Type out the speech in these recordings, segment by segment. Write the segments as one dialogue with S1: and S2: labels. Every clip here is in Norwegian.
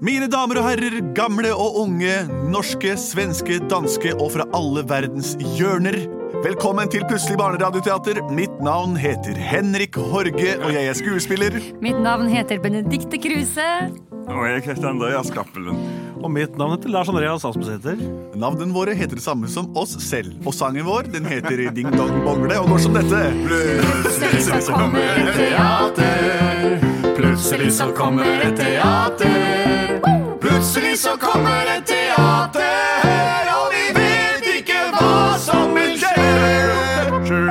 S1: Mine damer og herrer, gamle og unge, norske, svenske, danske og fra alle verdens hjørner. Velkommen til Plutselig barneradioteater. Mitt navn heter Henrik Horge, og jeg er skuespiller.
S2: Mitt navn heter Benedikte Kruse.
S3: Og jeg heter Andreas Cappelen.
S4: Og mitt navn heter Lars Andreas Aspesæter.
S1: Navnene våre heter det samme som oss selv. Og sangen vår den heter Ding Dong Bongle og går som dette.
S2: Plutselig så kommer et
S3: teater. Plutselig
S2: så kommer et
S3: teater. Plutselig så kommer et teater, og vi vet ikke hva som vil skje.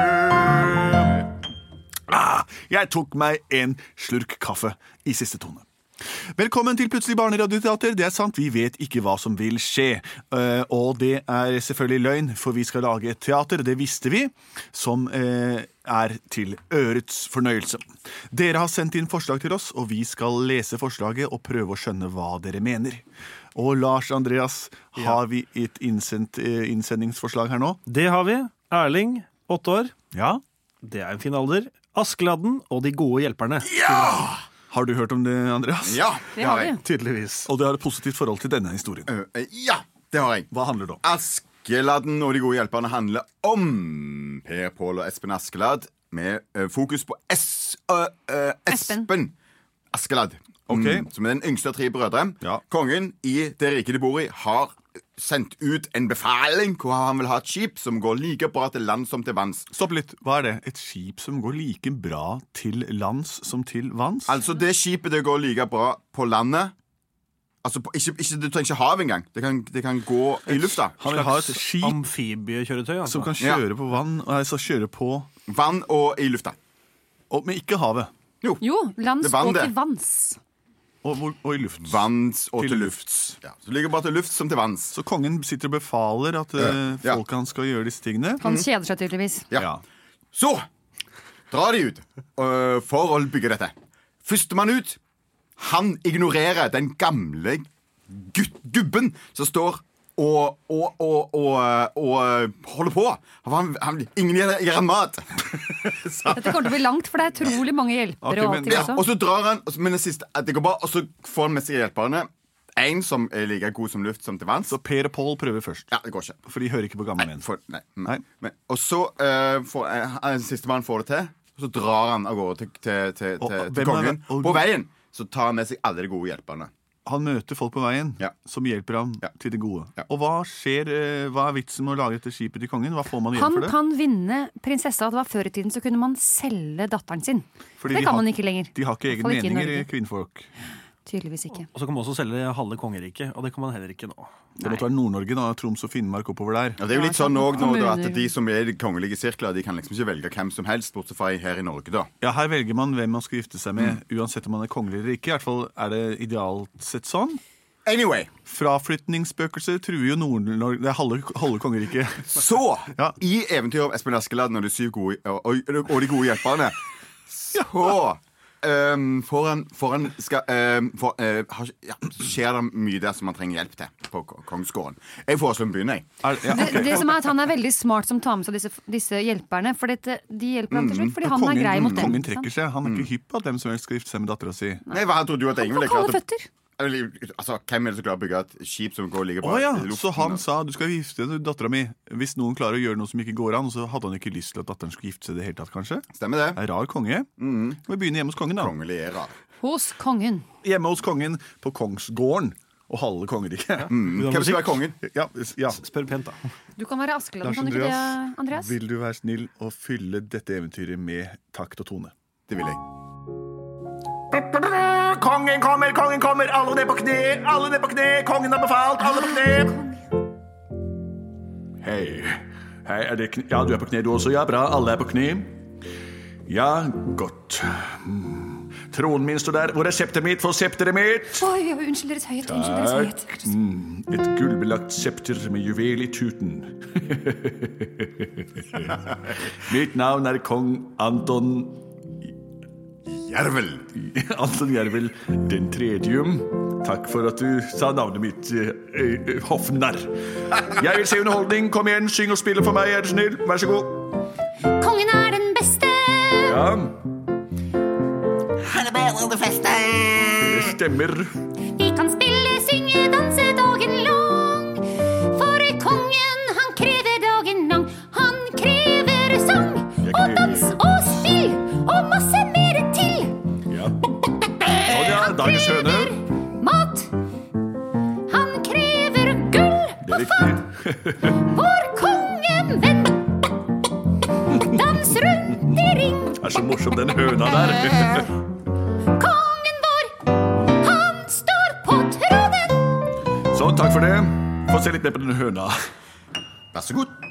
S1: Ah, jeg tok meg en slurk kaffe i siste tone. Velkommen til Plutselig barneradioteater. Det er sant, vi vet ikke hva som vil skje. Eh, og det er selvfølgelig løgn, for vi skal lage et teater, det visste vi, som eh, er til ørets fornøyelse. Dere har sendt inn forslag til oss, og vi skal lese forslaget og prøve å skjønne hva dere mener. Og Lars Andreas, har vi et innsendt, eh, innsendingsforslag her nå?
S4: Det har vi. Erling, åtte år.
S1: Ja.
S4: Det er en fin alder. Askeladden og de gode hjelperne.
S1: Har du hørt om det, Andreas?
S3: Ja,
S2: Det har vi.
S4: Tydeligvis.
S1: Og du har et positivt forhold til denne historien.
S3: Eh, Ja, det har jeg.
S1: Hva handler det om?
S3: Askeladden og de gode hjelperne handler om Per Pål og Espen Askeladd, med eh, fokus på S... ø, ø,
S2: Espen.
S3: Espen Askeladd. om-
S1: Ok.
S3: Som er den yngste av tre brødre.
S1: Ja.
S3: Kongen i det riket de bor i, har sendt ut en befaling hvor han vil ha et skip som går like bra til land som til vanns.
S1: Stopp litt. Hva er det? Et skip som går like bra til lands som til vanns?
S3: Altså det skipet det går like bra på landet Altså på, ikke, ikke, Du trenger ikke hav engang. Det kan, det kan gå i lufta.
S1: Han vil ha et skip
S4: Amfibiekjøretøy, altså.
S1: som kan
S3: Ja.
S1: kjøre på vann Altså kjøre på
S3: Vann og i lufta.
S1: og, Men ikke havet.
S2: Jo, lands
S3: Det vann,
S2: og
S3: det.
S2: til vanns.
S1: Og, hvor- og i luft.
S3: Vanns og
S1: Til
S3: til, lufts. Ja, så det ligger bare til luft som til vanns.
S1: Så kongen sitter og befaler at eh,
S3: Ja.
S1: folk han skal gjøre disse tingene.
S2: Han kjeder seg tydeligvis.
S3: Ja. Så drar de ut øh, for å bygge dette. Førstemann ut, han ignorerer den gamle gut- gubben som står og, og, og, og, og øh, holder på. Han, han, ingen gir gir han mat.
S2: Dette kommer til å bli langt, for det er utrolig mange
S1: Ok,
S2: hjelpere og
S1: men-
S2: alt til
S3: Ja, og
S2: også.
S3: så drar han, og så- men det siste, at det går bra, og så får han med seg hjelperne. En som er like god som luft som til vanns.
S1: Så Per og Pål prøver først.
S3: Ja, det går ikke.
S1: For de hører ikke på gamle menn.
S3: For, nei, Mm.
S1: Nei.
S3: Men, og så uh, får eh, sistemann får det til, og så drar han av gårde til, til, til,
S1: Og-
S3: til,
S1: og hvem
S3: til
S1: er
S3: kongen.
S1: det? Og-
S3: På veien så tar han med seg alle de gode hjelperne.
S1: Han møter folk på veien
S3: Ja.
S1: som hjelper ham
S3: Ja.
S1: til det gode.
S3: Ja.
S1: Og hva skjer, eh, hva er vitsen med å lage dette skipet til kongen? Hva får man igjen
S2: Han
S1: for det?
S2: kan vinne prinsessa. Det var før i tiden så kunne man selge datteren sin.
S1: Fordi
S2: det
S1: de
S2: kan
S1: har-
S2: man ikke lenger.
S1: De har ikke
S2: Fall
S1: egne
S2: ikke i
S1: meninger,
S2: Norge.
S1: kvinnfolk.
S2: Tydeligvis ikke.
S4: Og så kan man også selge halve kongeriket, og det kan man heller ikke nå.
S1: Det måtte være Nord-Norge, da. Troms og Finnmark oppover der.
S3: Ja, det er jo
S2: Ja,
S3: litt sånn
S2: sant.
S3: også nå, da, at
S2: Kommuner.
S3: De som er i de kongelige sirkler, De kan liksom ikke velge hvem som helst, bortsett fra her i Norge. da
S1: Ja, Her velger man hvem man skal gifte seg med, uansett om man er kongelig eller ikke. I hvert fall er det idealt sett sånn.
S3: Anyway,
S1: Fraflytningsspøkelser truer jo Nord-Norge Det er halve, halve kongeriket.
S3: Så,
S1: Ja.
S3: i eventyret om Espen Askeladd og de, syv gode, og, og, og de gode hjelperne, så ehm, får han, får han skal, ehm, får, eh, har, ja, Skjer det mye der som han trenger hjelp til på ko- kongsgården? Jeg foreslår vi begynner, jeg.
S1: Er, ja,
S2: Det,
S1: ok.
S2: det som er at Han er veldig smart som tar med seg disse, disse hjelperne. For dette, de hjelper ham til slutt, fordi han
S1: Mm. kongen,
S2: er grei mot dem.
S1: kongen
S2: ikke sant?
S1: trekker seg. Han er ikke hypp på at hvem som helst skal gifte seg med dattera si.
S3: Nei, hva trodde du at ingen
S2: Han
S3: ville
S2: får kalde
S3: klart å
S2: føtter.
S3: Eller, Altså, Hvem er det som klarer å bygge et skip som går like
S1: Å
S3: bra
S1: ja,
S3: i luften?
S1: Så han sa du skal gifte deg med dattera mi hvis noen klarer å gjøre noe som ikke går an. Og så hadde han ikke lyst til at datteren skulle gifte seg i det hele tatt, kanskje.
S3: Stemmer det?
S1: Det er rar konge. Vi begynner hjemme hos kongen, da.
S3: Kongelig era.
S2: Hos kongen.
S1: Hjemme hos kongen på kongsgården og halve kongeriket.
S4: Vil du ha
S3: Hvem skal
S4: musikk?
S3: være kongen?
S1: Ja, ja.
S4: Spør pent, da.
S2: Du kan være Askeladden, kan du ikke det, Andreas?
S1: vil du være snill å fylle dette eventyret med takt og tone?
S3: Det vil jeg.
S1: Kongen kommer, kongen kommer, alle ned på kne, alle ned på kne, kongen har befalt, alle på kne. Hei. Hei, er det kne? Ja, du er på kne du også. Ja, bra, alle er på kne. Ja, godt. Mm. Tronen min står der. Hvor er septet mitt? Få septeret mitt!
S2: Oi, oi, unnskyld Deres Høyhet. Unnskyld Deres Høyhet.
S1: Mm, et gullbelagt septer med juvel i tuten. mitt navn er kong Anton
S3: Jervel.
S1: Anton Jervel den tredjum. Takk for at du sa navnet mitt, eh, eh, hoffnarr. Jeg vil se underholdning. Kom igjen, syng og spill for meg, er du snill. Vær så god.
S5: Kongen er den beste!
S1: Ja,
S5: Han er bedre enn de fleste!
S1: det stemmer.
S5: Vi kan kan spille, synge, danse dagen lang. For kongen, han krever dagen lang. Han krever sang og dans og spill og masse mer til.
S1: Sånn, ja. Dagens høne.
S5: Mat. Han krever gull på fat. For kongen, venn. Dans rundt i ring.
S1: Det er så morsom, den høna der.
S5: Kongen vår, han står på tronen.
S1: Sånn, takk for det. Få se litt mer på den høna.
S3: Vær så god.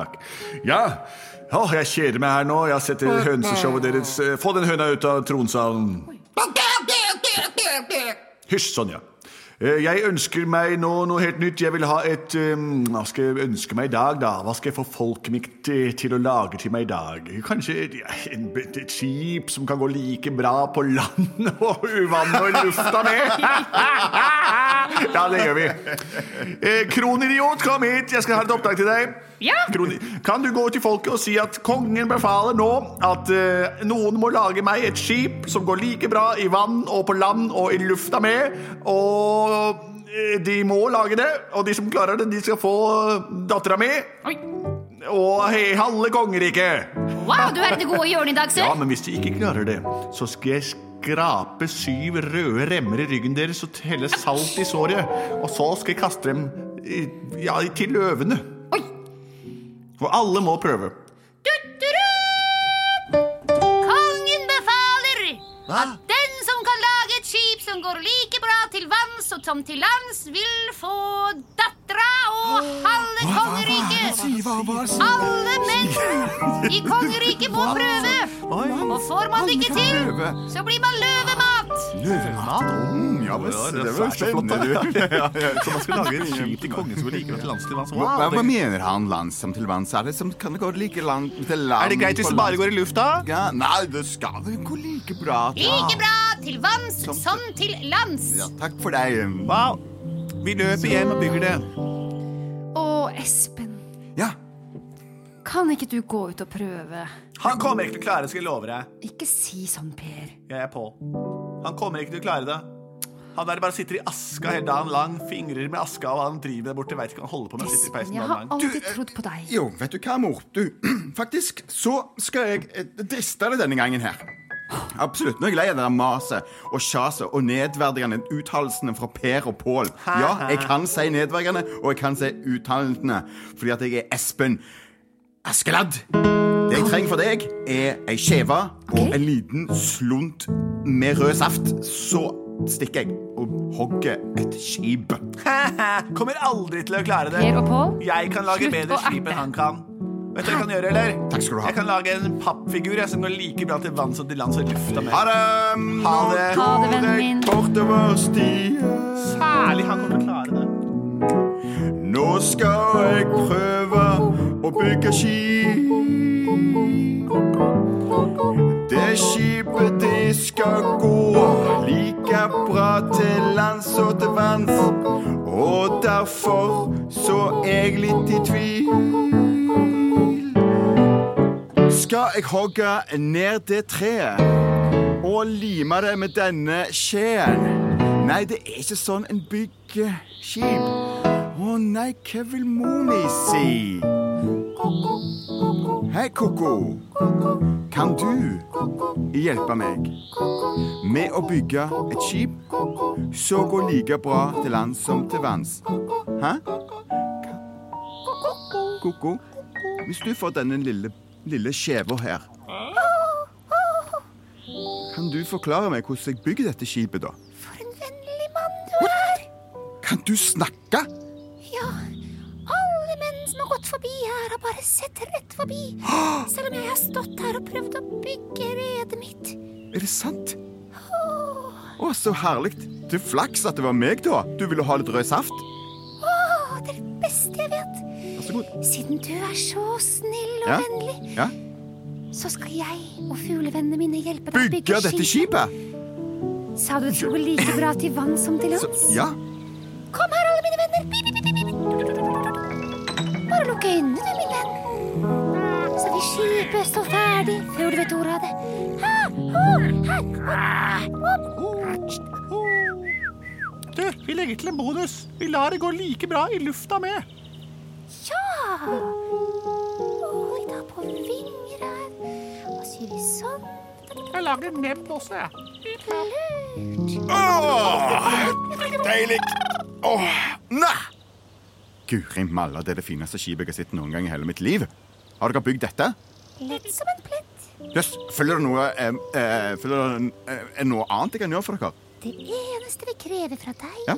S1: Takk. Ja, Åh, jeg kjeder meg her nå. Jeg har sett det hønseshowet deres. Eh, Få den høna ut av tronsalen. Hysj, Sonja. Eh, Jeg ønsker meg nå noe helt nytt. Jeg vil ha et eh, Hva skal jeg ønske meg i dag, da? Hva skal jeg få folket mitt eh, til å lage til meg i dag? Kanskje et, ja, en, et skip som kan gå like bra på land og i vann og i lufta med? Ja, det gjør vi. Eh, kronidiot, kom hit. Jeg skal ha et oppdrag til deg.
S2: Ja.
S1: Kroni kan du gå til folket og si at kongen befaler nå at eh, noen må lage meg et skip som går like bra i vann og på land og i lufta med, og eh, de må lage det, og de som klarer det, de skal få eh, dattera mi
S2: Oi.
S1: og he halve kongeriket.
S5: Wow, du er det gode hjørnet i dag,
S1: Ja,
S5: sør.
S1: men hvis de ikke klarer det, så skal jeg skrape syv røde remmer i ryggen deres og helle salt i såret. Og så skal jeg kaste dem i, ja, til løvene.
S5: Oi.
S1: For alle må prøve.
S5: Kongen befaler at den som kan lage et skip som går like bra til vanns og som til lands, vil få dattera og halve kongeriket. Alle menn i kongeriket må prøve. Og får man det ikke til, så blir man løvemat.
S3: Mm, ja, men,
S1: Ja, det
S3: det,
S1: er
S3: var
S1: så
S3: spennende, du. ja, ja.
S1: Så man skal lage et skip til kongen som er like bra til lands til vanns.
S3: Hva, hva
S1: Wow, det-
S3: mener han land som til vanns? Er det som kan det gå like land til land?
S1: Er det greit hvis
S3: på
S1: det bare
S3: land?
S1: går i lufta?
S3: ja, Nei, det skal vel gå like bra.
S5: Like bra til vanns som til lands.
S3: Ja, takk for deg.
S1: Wow. Vi løper hjem og bygger det.
S2: Å, Espen.
S3: Ja,
S2: Kan ikke du gå ut og prøve?
S1: Han kommer ikke til å klare det, skal jeg love deg.
S2: Ikke si sånn, Per.
S1: Jeg er på. Han kommer ikke til å klare det. Han der bare sitter i aska hele dagen lang, fingrer med aska, og han driver der borte. Veit ikke hva han holder på med. Sitter i
S2: Espen,
S1: peisen
S2: jeg
S1: dagen
S2: har
S1: lang.
S2: alltid trodd på deg.
S3: Jo, vet du hva, mor? Du, faktisk så skal jeg eh, driste deg denne gangen her. Absolutt. Nå er jeg lei av det der maset og sjaset og nedverdigende uttalelsene fra Per og Pål. Ja, jeg kan si nedverdigende, og jeg kan si uttalelsene, fordi at jeg er Espen Askeladd. Det jeg trenger for deg, er ei skjeve og en liten slunt med rød saft. Så stikker jeg og hogger et skip.
S1: Kommer aldri til å klare det.
S2: Per og Pål,
S1: Jeg kan lage
S2: slutt
S1: bedre
S2: å
S1: skip
S2: erte.
S1: enn han kan. Vet du hva jeg kan gjøre, eller?
S3: Takk skal du ha.
S1: Jeg kan lage en pappfigur jeg, som går like bra til vann som til land som i lufta med.
S3: Ha det!
S1: Ha det.
S2: Ha det, vennen
S3: Korrekt
S2: min.
S3: Bortover stien.
S1: Særlig han kommer til å klare det.
S3: Nå skal jeg prøve å bygge skip. Det skipet det skal gå like bra til lands og til vanns. Og derfor så er jeg litt i tvil. Skal jeg hogge ned det treet og lime det med denne skjeen? Nei, det er ikke sånn en bygger skip. Å nei, hva vil mor mi si? Hei, ko-ko. Kan du hjelpe meg med å bygge et skip som går like bra til lands som til vanns? Hæ? Ko-ko, hvis du får denne lille, lille skjeva her Kan du forklare meg hvordan jeg bygger dette skipet, da?
S5: For en vennlig mann du er.
S3: Kan du snakke?
S5: Ja, alle menn som har gått forbi her, har bare sett rett forbi. Selv om jeg har stått her og prøvd å bygge redet mitt.
S3: Er det sant? Å, så herlig. Du flaks at det var meg, da. Du ville ha litt rød saft?
S5: Åh, det er det beste jeg vet.
S3: Vær så god.
S5: Siden du er så snill og
S3: Ja.
S5: vennlig,
S3: Ja.
S5: så skal jeg og fuglevennene mine hjelpe deg å
S3: Bygge
S5: bygge
S3: dette skipet?
S5: Sa du det skulle gå like bra til vann som til
S3: Så,
S5: lands?
S3: ja.
S5: Kom her, alle mine venner. Pip, pip, pip, pip. Bare lukk øynene, du, min venn. Så vil skipet stå ferdig før du vet ordet av det. Ah, oh, her, opp, opp.
S6: ikke. Vi legger til en bonus. Vi lar det gå like bra i lufta med.
S5: Ja! Oi, da på vinger her. Hva sier vi sånn?
S6: Jeg lager en nebb også, jeg.
S5: Lurt.
S3: Deilig! nei! Guri malla, det er det fineste skipet jeg har sett noen gang i hele mitt liv. Har dere bygd dette?
S5: Lett som en plett.
S3: Jøss, følger det noe eh, eh, Følger det eh, eh, noe annet jeg kan gjøre for dere?
S5: Det eneste vi krever fra deg,
S3: Ja.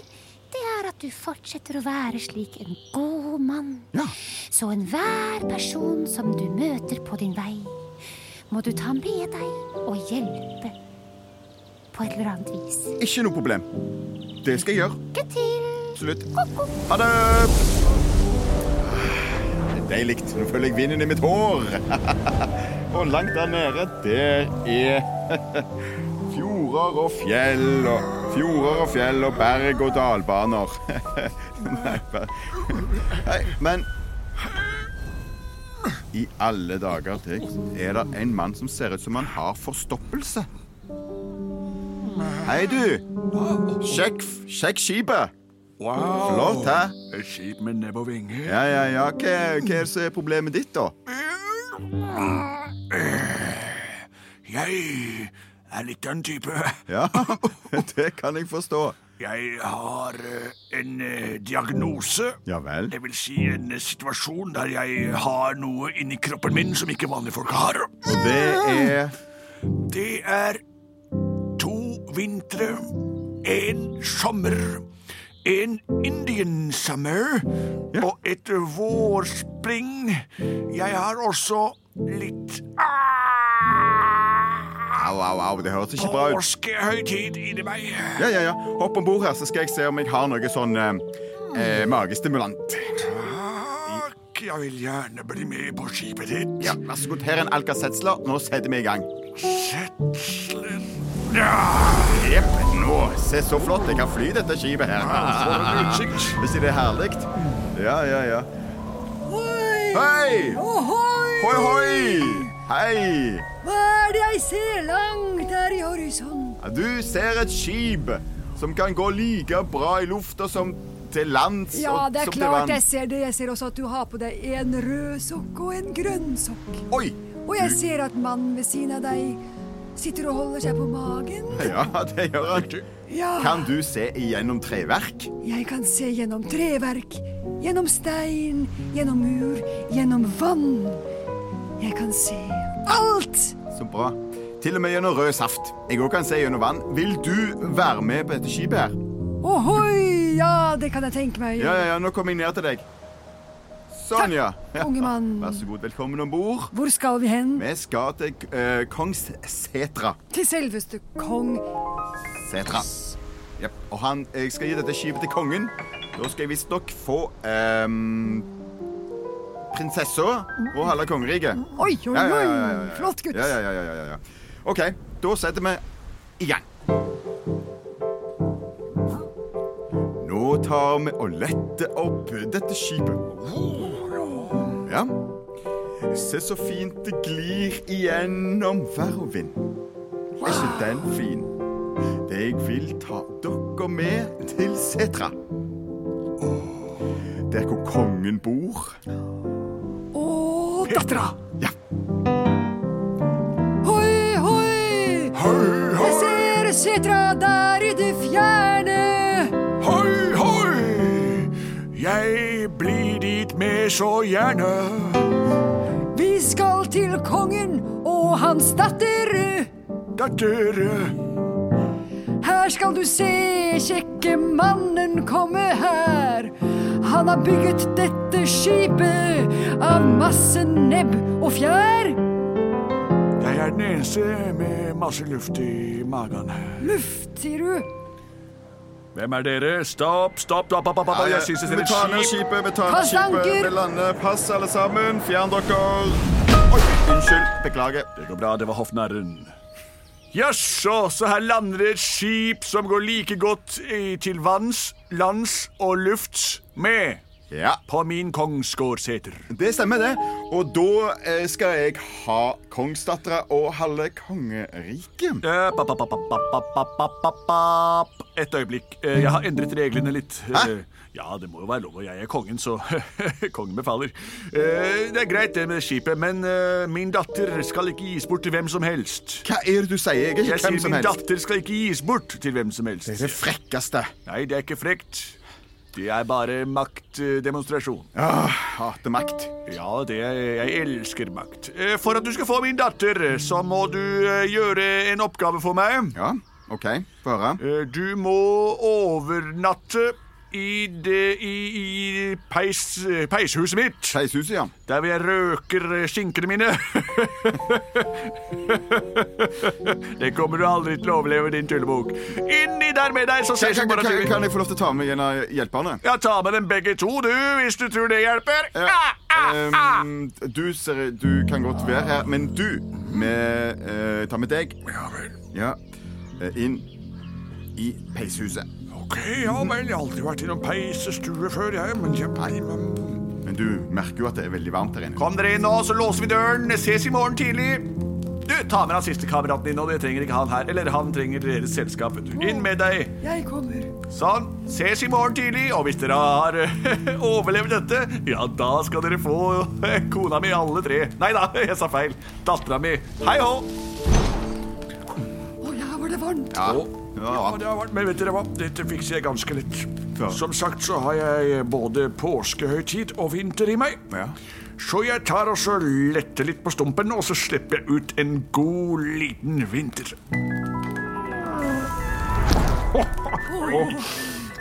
S5: det er at du fortsetter å være slik en god mann.
S3: Ja.
S5: Så enhver person som du møter på din vei, må du ta med deg og hjelpe på et eller annet vis.
S3: Ikke noe problem. Det skal jeg gjøre.
S5: Lykke til!
S3: Absolutt. Ha det! Det er Deilig. Nå føler jeg vinden i mitt hår. Og langt der nede, der er fjorder og fjell og Fjorder og fjell og berg og dalbaner. Nei, bare- Nei, men I alle dager Tex, er det en mann som ser ut som han har forstoppelse. Hei, du. Sjekk, sjekk skipet. Flott, hæ?
S6: Et skip med nebb og vinger.
S3: Ja, ja, ja. Hva, hva er så er problemet ditt, da?
S6: Jeg er litt den type.
S3: Ja, Det kan jeg forstå.
S6: Jeg har eh, en eh, diagnose.
S3: Ja vel?
S6: Det vil si en eh, situasjon der jeg har noe inni kroppen min som ikke vanlige folk har.
S3: Og det er
S6: Det er to vintre, en sommer, en Indian summer og et vårspring. Jeg har også litt ah,
S3: Au, au, au. Det høres ikke bra ut.
S6: påskehøytid inni meg.
S3: Ja, ja, ja. Hopp om bord her, så skal jeg se om jeg har noe sånn eh, eh, magestimulant.
S6: Takk, jeg vil gjerne bli med på skipet ditt.
S3: Ja, Vær så god. Her er en Alcacetzler. Nå setter vi i gang.
S6: Setzler. Ja,
S3: Jepp. Nå. Se, så flott. Jeg kan fly dette skipet her.
S6: for en utsikt.
S3: Hvis det er herlig. Ja, ja, ja. Hei! Hoi, hoi! Hei!
S7: Hva er det jeg ser langt der i horisont?
S3: Ja, Du ser et skip som kan gå like bra i lufta som til lands
S7: Ja,
S3: og
S7: det er
S3: som
S7: klart
S3: til
S7: jeg
S3: vann.
S7: ser det. Jeg ser også at du har på deg en rød sokk og en grønn sokk.
S3: Oi!
S7: Og jeg ser at mannen ved siden av deg sitter og holder seg på magen.
S3: Ja, det gjør han.
S7: Ja,
S3: Kan du se igjennom treverk?
S7: jeg kan se gjennom treverk, gjennom stein, gjennom mur, gjennom vann. Jeg kan se alt!
S3: Så bra. Til og med gjennom rød saft. Jeg òg kan se gjennom vann. Vil du være med på dette skipet her?
S7: Ohoi! Ja, det kan jeg tenke meg.
S3: Ja, ja, ja, nå kommer jeg ned til deg. Sånn, ja. Ja,
S7: unge mann.
S3: Vær så god. Velkommen om bord.
S7: Hvor skal vi hen?
S3: Vi skal til eh, Kongssetra.
S7: Til selveste kong.
S3: Setra. Jep, Og han, jeg skal gi dette skipet til kongen. Da skal jeg visstnok få ehm, prinsessa
S7: Mm.
S3: og halve kongeriket.
S7: Oi, oi,
S3: Ja, ja,
S7: oi!
S3: ja, ja, ja, ja.
S7: Flott gutt.
S3: Ja, ja, ja, ja, ja, ja. OK, da setter vi i gang. Nå tar vi og letter opp dette skipet. Ja. Se så fint det glir igjennom vær og vind. Er ikke den fin? Det jeg vil ta dere med til Setra. Der hvor kongen bor.
S7: Og dattera.
S3: Ja.
S7: Hoi, hoi!
S6: Hoi,
S7: Jeg
S6: hoi,
S7: ser setra der i det fjerne.
S6: hoi, hoi. Jeg blir dit med så gjerne.
S7: Vi skal til kongen og hans datter.
S6: Datter,
S7: Her skal du se kjekke mannen komme her. Han har bygget dette skipet av masse nebb og fjær.
S6: jeg er den eneste med masse luft i magen.
S7: Luft, sier du.
S6: Hvem er dere? Stopp, stopp, stopp, stopp, stopp, stopp. jeg synes
S3: vi
S6: det
S3: tar
S6: ser
S3: ned
S6: et skip.
S3: skipet, vi tar ned
S7: Kast
S3: skipet, vi
S7: anker.
S3: lander. Pass, alle sammen. Fjern dere. Oi, unnskyld. Beklager.
S6: Det går bra, det var hoffnarren. Jaså, så her lander det et skip som går like godt i, til vanns, lands og lufts med
S3: Ja,
S6: på min kongsgård seter.
S3: det stemmer, det. Og da eh, skal jeg ha kongsdattera og halve kongeriket.
S6: Eh, pa, pa, pa, pa, pa, pa, pa, pa, pa, pa. Et øyeblikk. Eh, Jeg har endret reglene litt. Eh, Ja, det må jo være lov, og jeg er kongen, så kongen befaler. Eh, Det er greit, det med skipet, men eh, min datter skal ikke gis bort til hvem som helst.
S3: Hva er det du sier? Jeg er ikke
S6: Jeg sier
S3: hvem som
S6: min
S3: helst.
S6: datter skal ikke gis bort til hvem som helst.
S3: Det er det frekkeste.
S6: Nei, det er ikke frekt. Det er bare maktdemonstrasjon.
S3: Åh, hater makt.
S6: Ja, det er, jeg elsker makt. Eh, For at du skal få min datter, så må du eh, gjøre en oppgave for meg.
S3: Ja, OK. Få høre.
S6: Eh, Du må overnatte i, det, i, i peis, peishuset mitt.
S3: Skeishuset, ja.
S6: Der hvor jeg røker eh, skinkene mine. det kommer du aldri til å overleve, din tullebok. Inni der med deg, så
S3: Kan,
S6: ses vi
S3: kan,
S6: bare
S3: kan,
S6: til.
S3: kan jeg få lov til å ta med en av hjelperne?
S6: Ja, ta med dem begge to, du, hvis du tror det hjelper.
S3: Eh,
S6: Ah, ah, ah.
S3: ehm, du, ser, du kan godt være her, men du med, eh, Ta med deg
S6: Ja vel.
S3: ja, eh, inn i peishuset.
S6: Ok, ja vel. Jeg har aldri vært i noen peisestue før, jeg. Men jeg...
S3: Men du merker jo at det er veldig varmt der inne.
S6: Kom dere inn nå, så låser vi døren. Ses i morgen tidlig. Du, Ta med nazistkameraten din, og det trenger ikke han her. Eller han trenger deres selskap. vet du. Inn med deg.
S7: Jeg kommer.
S6: Sånn. Ses i morgen tidlig. Og hvis dere har eh, overlevd dette, ja, da skal dere få eh, kona mi alle tre. Nei da, jeg sa feil. Dattera mi. Hei hå.
S7: Å ja, var det varmt?
S3: Ja.
S6: Ja,
S3: Ja.
S6: det har vært, Men vet dere hva, dette fikser jeg ganske lett.
S3: Ja.
S6: Som sagt så har jeg både påskehøytid og vinter i meg.
S3: Ja.
S6: Så jeg tar og så letter litt på stumpen, og så slipper jeg ut en god liten vinter.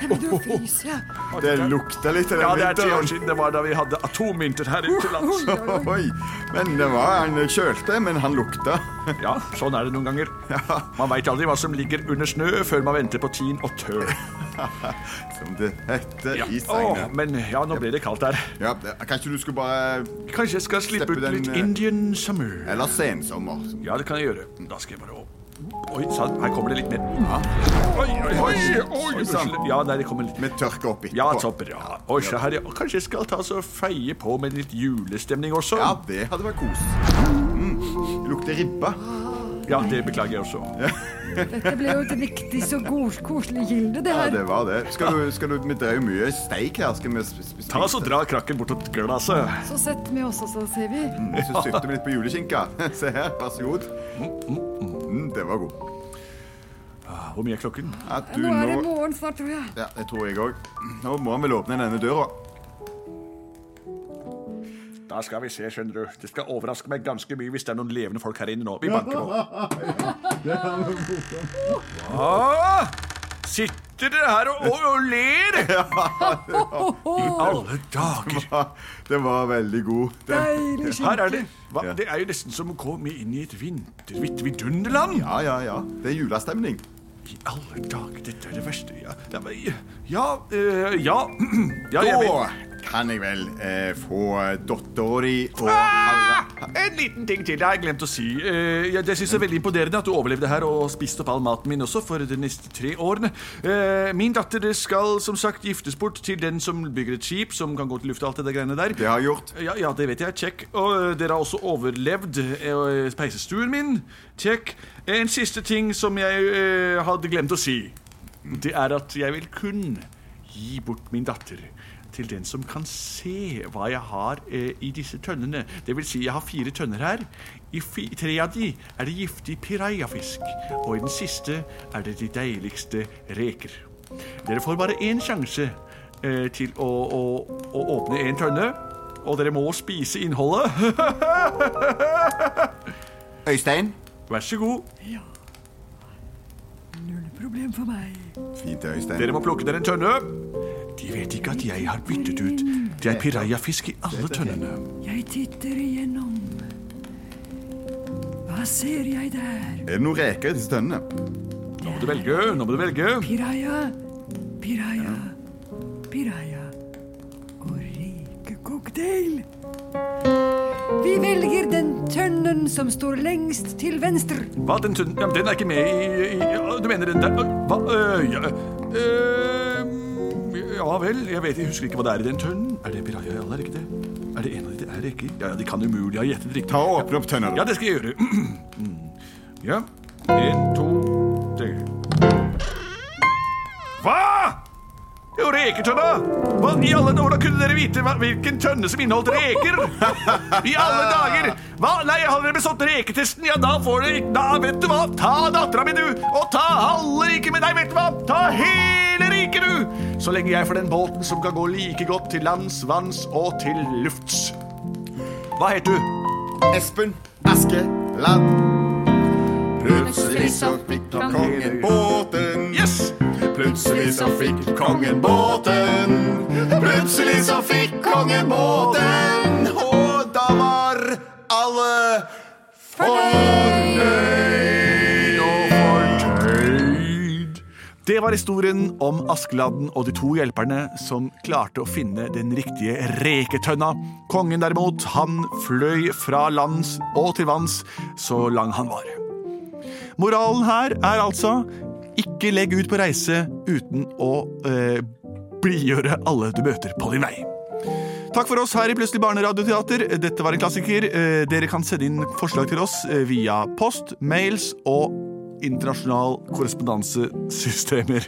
S7: Jeg begynner å fryse.
S3: Det lukter litt av
S6: Ja, det
S3: den
S6: er ti år
S3: vinteren.
S6: siden det var da vi hadde atomvinter her til lands.
S3: Oi, men det var Han kjølte, men han lukta.
S6: Ja, sånn er det noen ganger. Man veit aldri hva som ligger under snø før man venter på tin og tøl.
S3: Som det heter
S6: Ja.
S3: i
S6: Åh,
S3: sangen.
S6: men ja, nå ble det kaldt der.
S3: Ja, kanskje du skulle bare
S6: Kanskje jeg skal slippe
S3: Slippe
S6: ut
S3: den,
S6: litt
S3: eh,
S6: Indian summer.
S3: Eller sensommer.
S6: Ja, det kan jeg gjøre. Da skal jeg bare opp. Oi sann, her kommer det litt mer. Oi, oi, oi! oi,
S3: Oi, sann.
S6: unnskyld. Ja, nei, det kommer litt
S3: Vi tørker opp
S6: Ja,
S3: etterpå.
S6: topper, ja. Oi, se her, ja. Kanskje jeg skal ta så feie på med litt julestemning også?
S3: Ja, det hadde vært kos. Mm. Lukter ribba.
S6: Ja, det beklager jeg også.
S7: Dette ble jo et riktig så god, koselig gilde, det
S3: Ja,
S7: her.
S3: det var det. Skal du, skal du, vi drev jo mye steik her. Skal vi sp- sp-
S6: Ta så dra krakken bortåt glasset.
S7: Så setter vi oss, og så ser vi.
S3: Jeg synes søkte vi litt på juleskinka. Se her, vær så god. Mm, det var god.
S6: Hvor mye er klokken?
S3: At du
S7: Nå er det
S3: nå...
S7: morgen snart, tror jeg.
S3: Ja, det tror jeg òg. Nå må han vel åpne denne døra.
S6: Da skal vi se, skjønner du. Det skal overraske meg ganske mye hvis det er noen levende folk her inne nå. Vi banker på. Ja, Ah! sitter dere her og, og, og ler? I alle dager.
S3: Ha, Den var veldig god. Den.
S7: Deilig
S6: Her er
S7: skinke.
S6: det. Hva? Det er jo nesten som å komme inn i et vinterhvitt vidunderland.
S3: Ja, ja, ja. Det er julestemning.
S6: I alle dager, dette er det verste. Ja, ja, ja, eh, ja. ja jeg vil.
S3: Da kan jeg vel eh, få dattera di og halve
S6: Ah, En liten ting til. Det har jeg glemt å si. Eh, jeg jeg synes det er veldig imponerende at du overlevde her og spiste opp all maten min også for de neste tre årene. Eh, min datter skal som sagt giftes bort til den som bygger et skip som kan gå til lufta og alt det der greiene der.
S3: Det har jeg gjort.
S6: Ja, ja, det vet jeg. Check. Og eh, dere har også overlevd eh, peisestuen min. Check. En siste ting som jeg eh, hadde glemt å si. Det er at jeg vil kun gi bort min datter til den som kan se hva jeg har eh, i disse tønnene. Det vil si, jeg har fire tønner her. I fi, tre av de er det giftig pirajafisk. Og i den siste er det de deiligste reker. Dere får bare én sjanse eh, til å, å, å åpne en tønne. Og dere må spise innholdet.
S3: Øystein.
S6: Vær så god.
S7: Null problem for meg.
S3: Fint, Øystein.
S6: Dere må plukke dere en tønne. De vet ikke at jeg har byttet ut. Det er pirajafisk i alle tønnene.
S7: Jeg titter igjennom. Hva ser jeg der?
S3: Er det noen reker i disse tønnene?
S6: Nå må du velge. Nå må du velge.
S7: Piraya, piraya, piraya og rikecocktail. Vi velger den tønnen som står lengst til venstre.
S6: Hva, den tønnen ja, men Den er ikke med i, i ja, Du mener den der Hva? Øh, ja, øh, ja vel, jeg vet, jeg husker ikke hva det er i den tønnen. Er det Piraja Jalla, er det ikke det? Er det en av de det er det ikke? Ja, ja, de kan umulig ha gjettet riktig.
S3: Ta og åpne opp tønna.
S6: Ja, det skal jeg gjøre. Mm. Ja. En, to, tre. Hva?! Ah! Jo, reketønna! Hva i alle dager kunne dere vite hva, hvilken tønne som inneholdt reker? I alle dager! Hva? Nei, hadde dere bestått reketesten, ja, da får dere ikke Da, vet du hva, ta dattera mi, du! Og ta halve riket med deg, vet du hva! Ta hele riket, du! Så lenge jeg får den båten som kan gå like godt til lands, vanns og til lufts. Hva heter du?
S3: Espen Askeland. Plutselig så fikk kongen båten.
S6: Yes!
S3: Plutselig så fikk kongen båten. Plutselig så fikk kongen båten. Og da var alle fornøyd.
S6: og fortøyd. Det var historien om Askeladden og de to hjelperne som klarte å finne den riktige reketønna. Kongen derimot, han fløy fra lands og til vanns så lang han var. Moralen her er altså ikke legg ut på reise uten å eh, blidgjøre alle du møter på din vei. Takk for oss her i Plutselig barneradioteater. Dette var en klassiker. Eh, Dere kan sende inn forslag til oss eh, via post, mails og internasjonal korrespondansesystemer.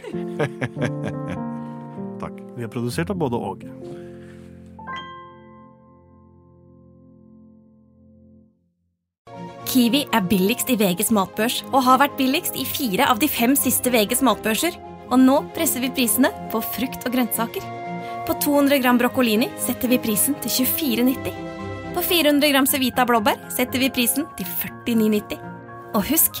S6: Takk.
S4: Vi er produsert av både og.
S7: Kiwi er billigst i VGs matbørs og har vært billigst i fire av de fem siste VGs matbørser. Og nå presser vi prisene på frukt og grønnsaker. På 200 gram broccolini setter vi prisen til 24,90. På 400 gram Cevita blåbær setter vi prisen til 49,90. Og husk,